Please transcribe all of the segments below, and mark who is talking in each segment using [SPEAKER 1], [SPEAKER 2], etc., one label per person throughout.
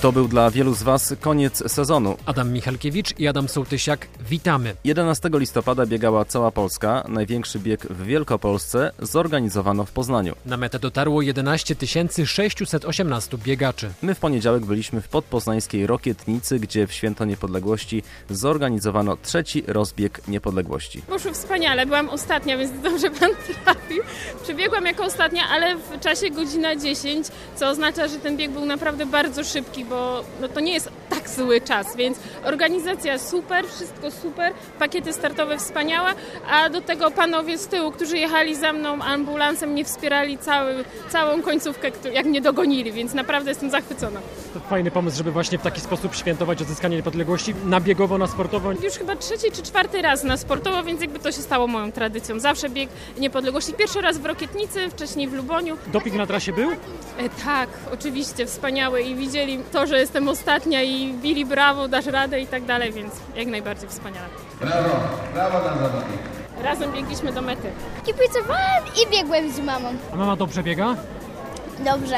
[SPEAKER 1] To był dla wielu z Was koniec sezonu.
[SPEAKER 2] Adam Michalkiewicz i Adam Sołtysiak, witamy.
[SPEAKER 1] 11 listopada biegała cała Polska. Największy bieg w Wielkopolsce zorganizowano w Poznaniu.
[SPEAKER 2] Na metę dotarło 11 618 biegaczy.
[SPEAKER 1] My w poniedziałek byliśmy w podpoznańskiej Rokietnicy, gdzie w Święto Niepodległości zorganizowano trzeci rozbieg niepodległości.
[SPEAKER 3] Poszły wspaniale, byłam ostatnia, więc dobrze pan trafił. Przebiegłam jako ostatnia, ale w czasie godzina 10, co oznacza, że ten bieg był naprawdę bardzo szybki, bo no to nie jest tak zły czas, więc organizacja super, wszystko super, pakiety startowe wspaniałe, a do tego panowie z tyłu, którzy jechali za mną ambulansem, mnie wspierali cały, całą końcówkę, któ- jak mnie dogonili, więc naprawdę jestem zachwycona.
[SPEAKER 2] To fajny pomysł, żeby właśnie w taki sposób świętować odzyskanie niepodległości, na biegowo, na sportowo.
[SPEAKER 3] Już chyba trzeci czy czwarty raz na sportowo, więc jakby to się stało moją tradycją. Zawsze bieg niepodległości. Pierwszy raz w Rokietnicy, wcześniej w Luboniu.
[SPEAKER 2] Doping na trasie był?
[SPEAKER 3] E, tak, oczywiście, wspaniały i widzieli to, że jestem ostatnia i bili brawo, dasz radę i tak dalej, więc jak najbardziej wspaniale.
[SPEAKER 4] Brawo, brawo dla zawodnika.
[SPEAKER 3] Razem biegliśmy do mety.
[SPEAKER 5] Kibicowałem i biegłem z mamą.
[SPEAKER 2] A mama dobrze biega?
[SPEAKER 5] Dobrze.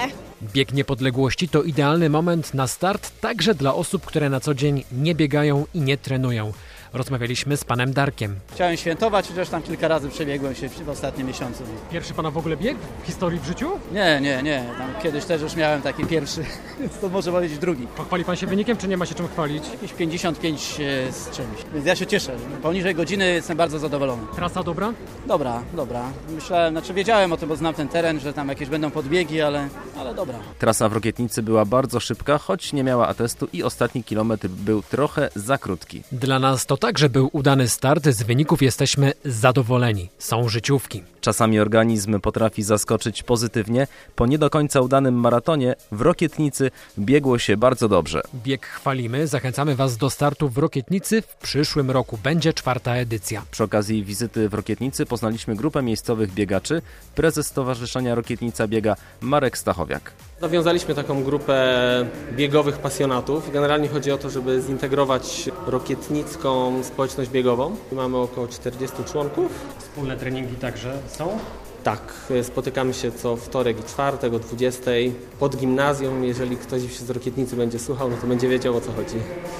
[SPEAKER 2] Bieg niepodległości to idealny moment na start także dla osób, które na co dzień nie biegają i nie trenują. Rozmawialiśmy z panem Darkiem.
[SPEAKER 6] Chciałem świętować, chociaż tam kilka razy przebiegłem się w ostatnim miesiącu.
[SPEAKER 2] Pierwszy pana w ogóle bieg w historii w życiu?
[SPEAKER 6] Nie, nie, nie. Tam kiedyś też już miałem taki pierwszy, więc to może powiedzieć drugi.
[SPEAKER 2] Pochwali pan się wynikiem, czy nie ma się czym chwalić?
[SPEAKER 6] Jakieś 55 e, z czymś. Więc ja się cieszę. Poniżej godziny jestem bardzo zadowolony.
[SPEAKER 2] Trasa dobra?
[SPEAKER 6] Dobra, dobra. Myślałem, znaczy wiedziałem o tym, bo znam ten teren, że tam jakieś będą podbiegi, ale, ale dobra.
[SPEAKER 1] Trasa w Rokietnicy była bardzo szybka, choć nie miała atestu i ostatni kilometr był trochę za krótki.
[SPEAKER 2] Dla nas to także był udany start, z wyników jesteśmy zadowoleni. Są życiówki.
[SPEAKER 1] Czasami organizm potrafi zaskoczyć pozytywnie. Po nie do końca udanym maratonie w Rokietnicy biegło się bardzo dobrze.
[SPEAKER 2] Bieg chwalimy, zachęcamy Was do startu w Rokietnicy w przyszłym roku. Będzie czwarta edycja.
[SPEAKER 1] Przy okazji wizyty w Rokietnicy poznaliśmy grupę miejscowych biegaczy. Prezes Stowarzyszenia Rokietnica Biega Marek Stachowiak.
[SPEAKER 7] Zawiązaliśmy taką grupę biegowych pasjonatów. Generalnie chodzi o to, żeby zintegrować rokietnicką społeczność biegową. Mamy około 40 członków.
[SPEAKER 2] Wspólne treningi także są.
[SPEAKER 7] Tak, spotykamy się co wtorek i czwartek o 20 pod gimnazjum. Jeżeli ktoś się z Rokietnicy będzie słuchał, no to będzie wiedział o co chodzi.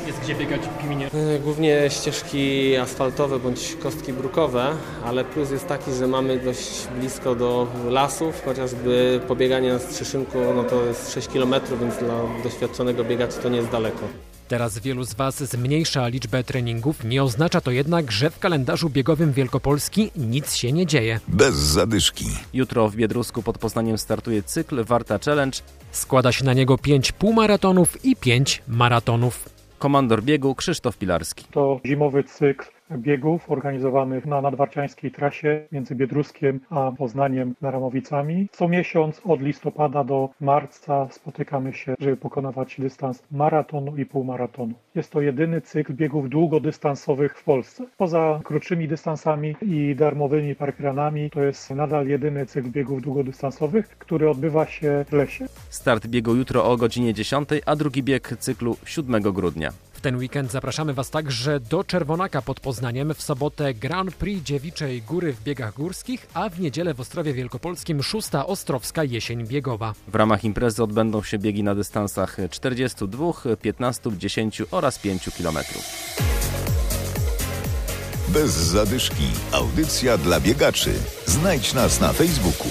[SPEAKER 2] Jest gdzie biegać w gminie.
[SPEAKER 7] E, Głównie ścieżki asfaltowe bądź kostki brukowe, ale plus jest taki, że mamy dość blisko do lasów, chociażby pobieganie na Strzeszynku no to jest 6 km, więc dla doświadczonego biegacza to nie jest daleko.
[SPEAKER 2] Teraz wielu z Was zmniejsza liczbę treningów. Nie oznacza to jednak, że w kalendarzu biegowym Wielkopolski nic się nie dzieje.
[SPEAKER 8] Bez zadyszki.
[SPEAKER 1] Jutro w Biedrusku pod Poznaniem startuje cykl Warta Challenge.
[SPEAKER 2] Składa się na niego 5 półmaratonów i 5 maratonów.
[SPEAKER 1] Komandor biegu Krzysztof Pilarski.
[SPEAKER 9] To zimowy cykl biegów organizowany na nadwarciańskiej trasie między Biedruskiem a Poznaniem Naramowicami. Co miesiąc od listopada do marca spotykamy się, żeby pokonywać dystans maratonu i półmaratonu. Jest to jedyny cykl biegów długodystansowych w Polsce. Poza krótszymi dystansami i darmowymi parkranami to jest nadal jedyny cykl biegów długodystansowych, który odbywa się w lesie.
[SPEAKER 1] Start biegu jutro o godzinie 10, a drugi bieg cyklu 7 grudnia.
[SPEAKER 2] W ten weekend zapraszamy Was także do Czerwonaka pod Poznaniem w sobotę Grand Prix Dziewiczej Góry w biegach górskich, a w niedzielę w Ostrowie Wielkopolskim szósta Ostrowska Jesień Biegowa.
[SPEAKER 1] W ramach imprezy odbędą się biegi na dystansach 42, 15, 10 oraz 5 kilometrów.
[SPEAKER 8] Bez zadyszki. Audycja dla biegaczy. Znajdź nas na Facebooku.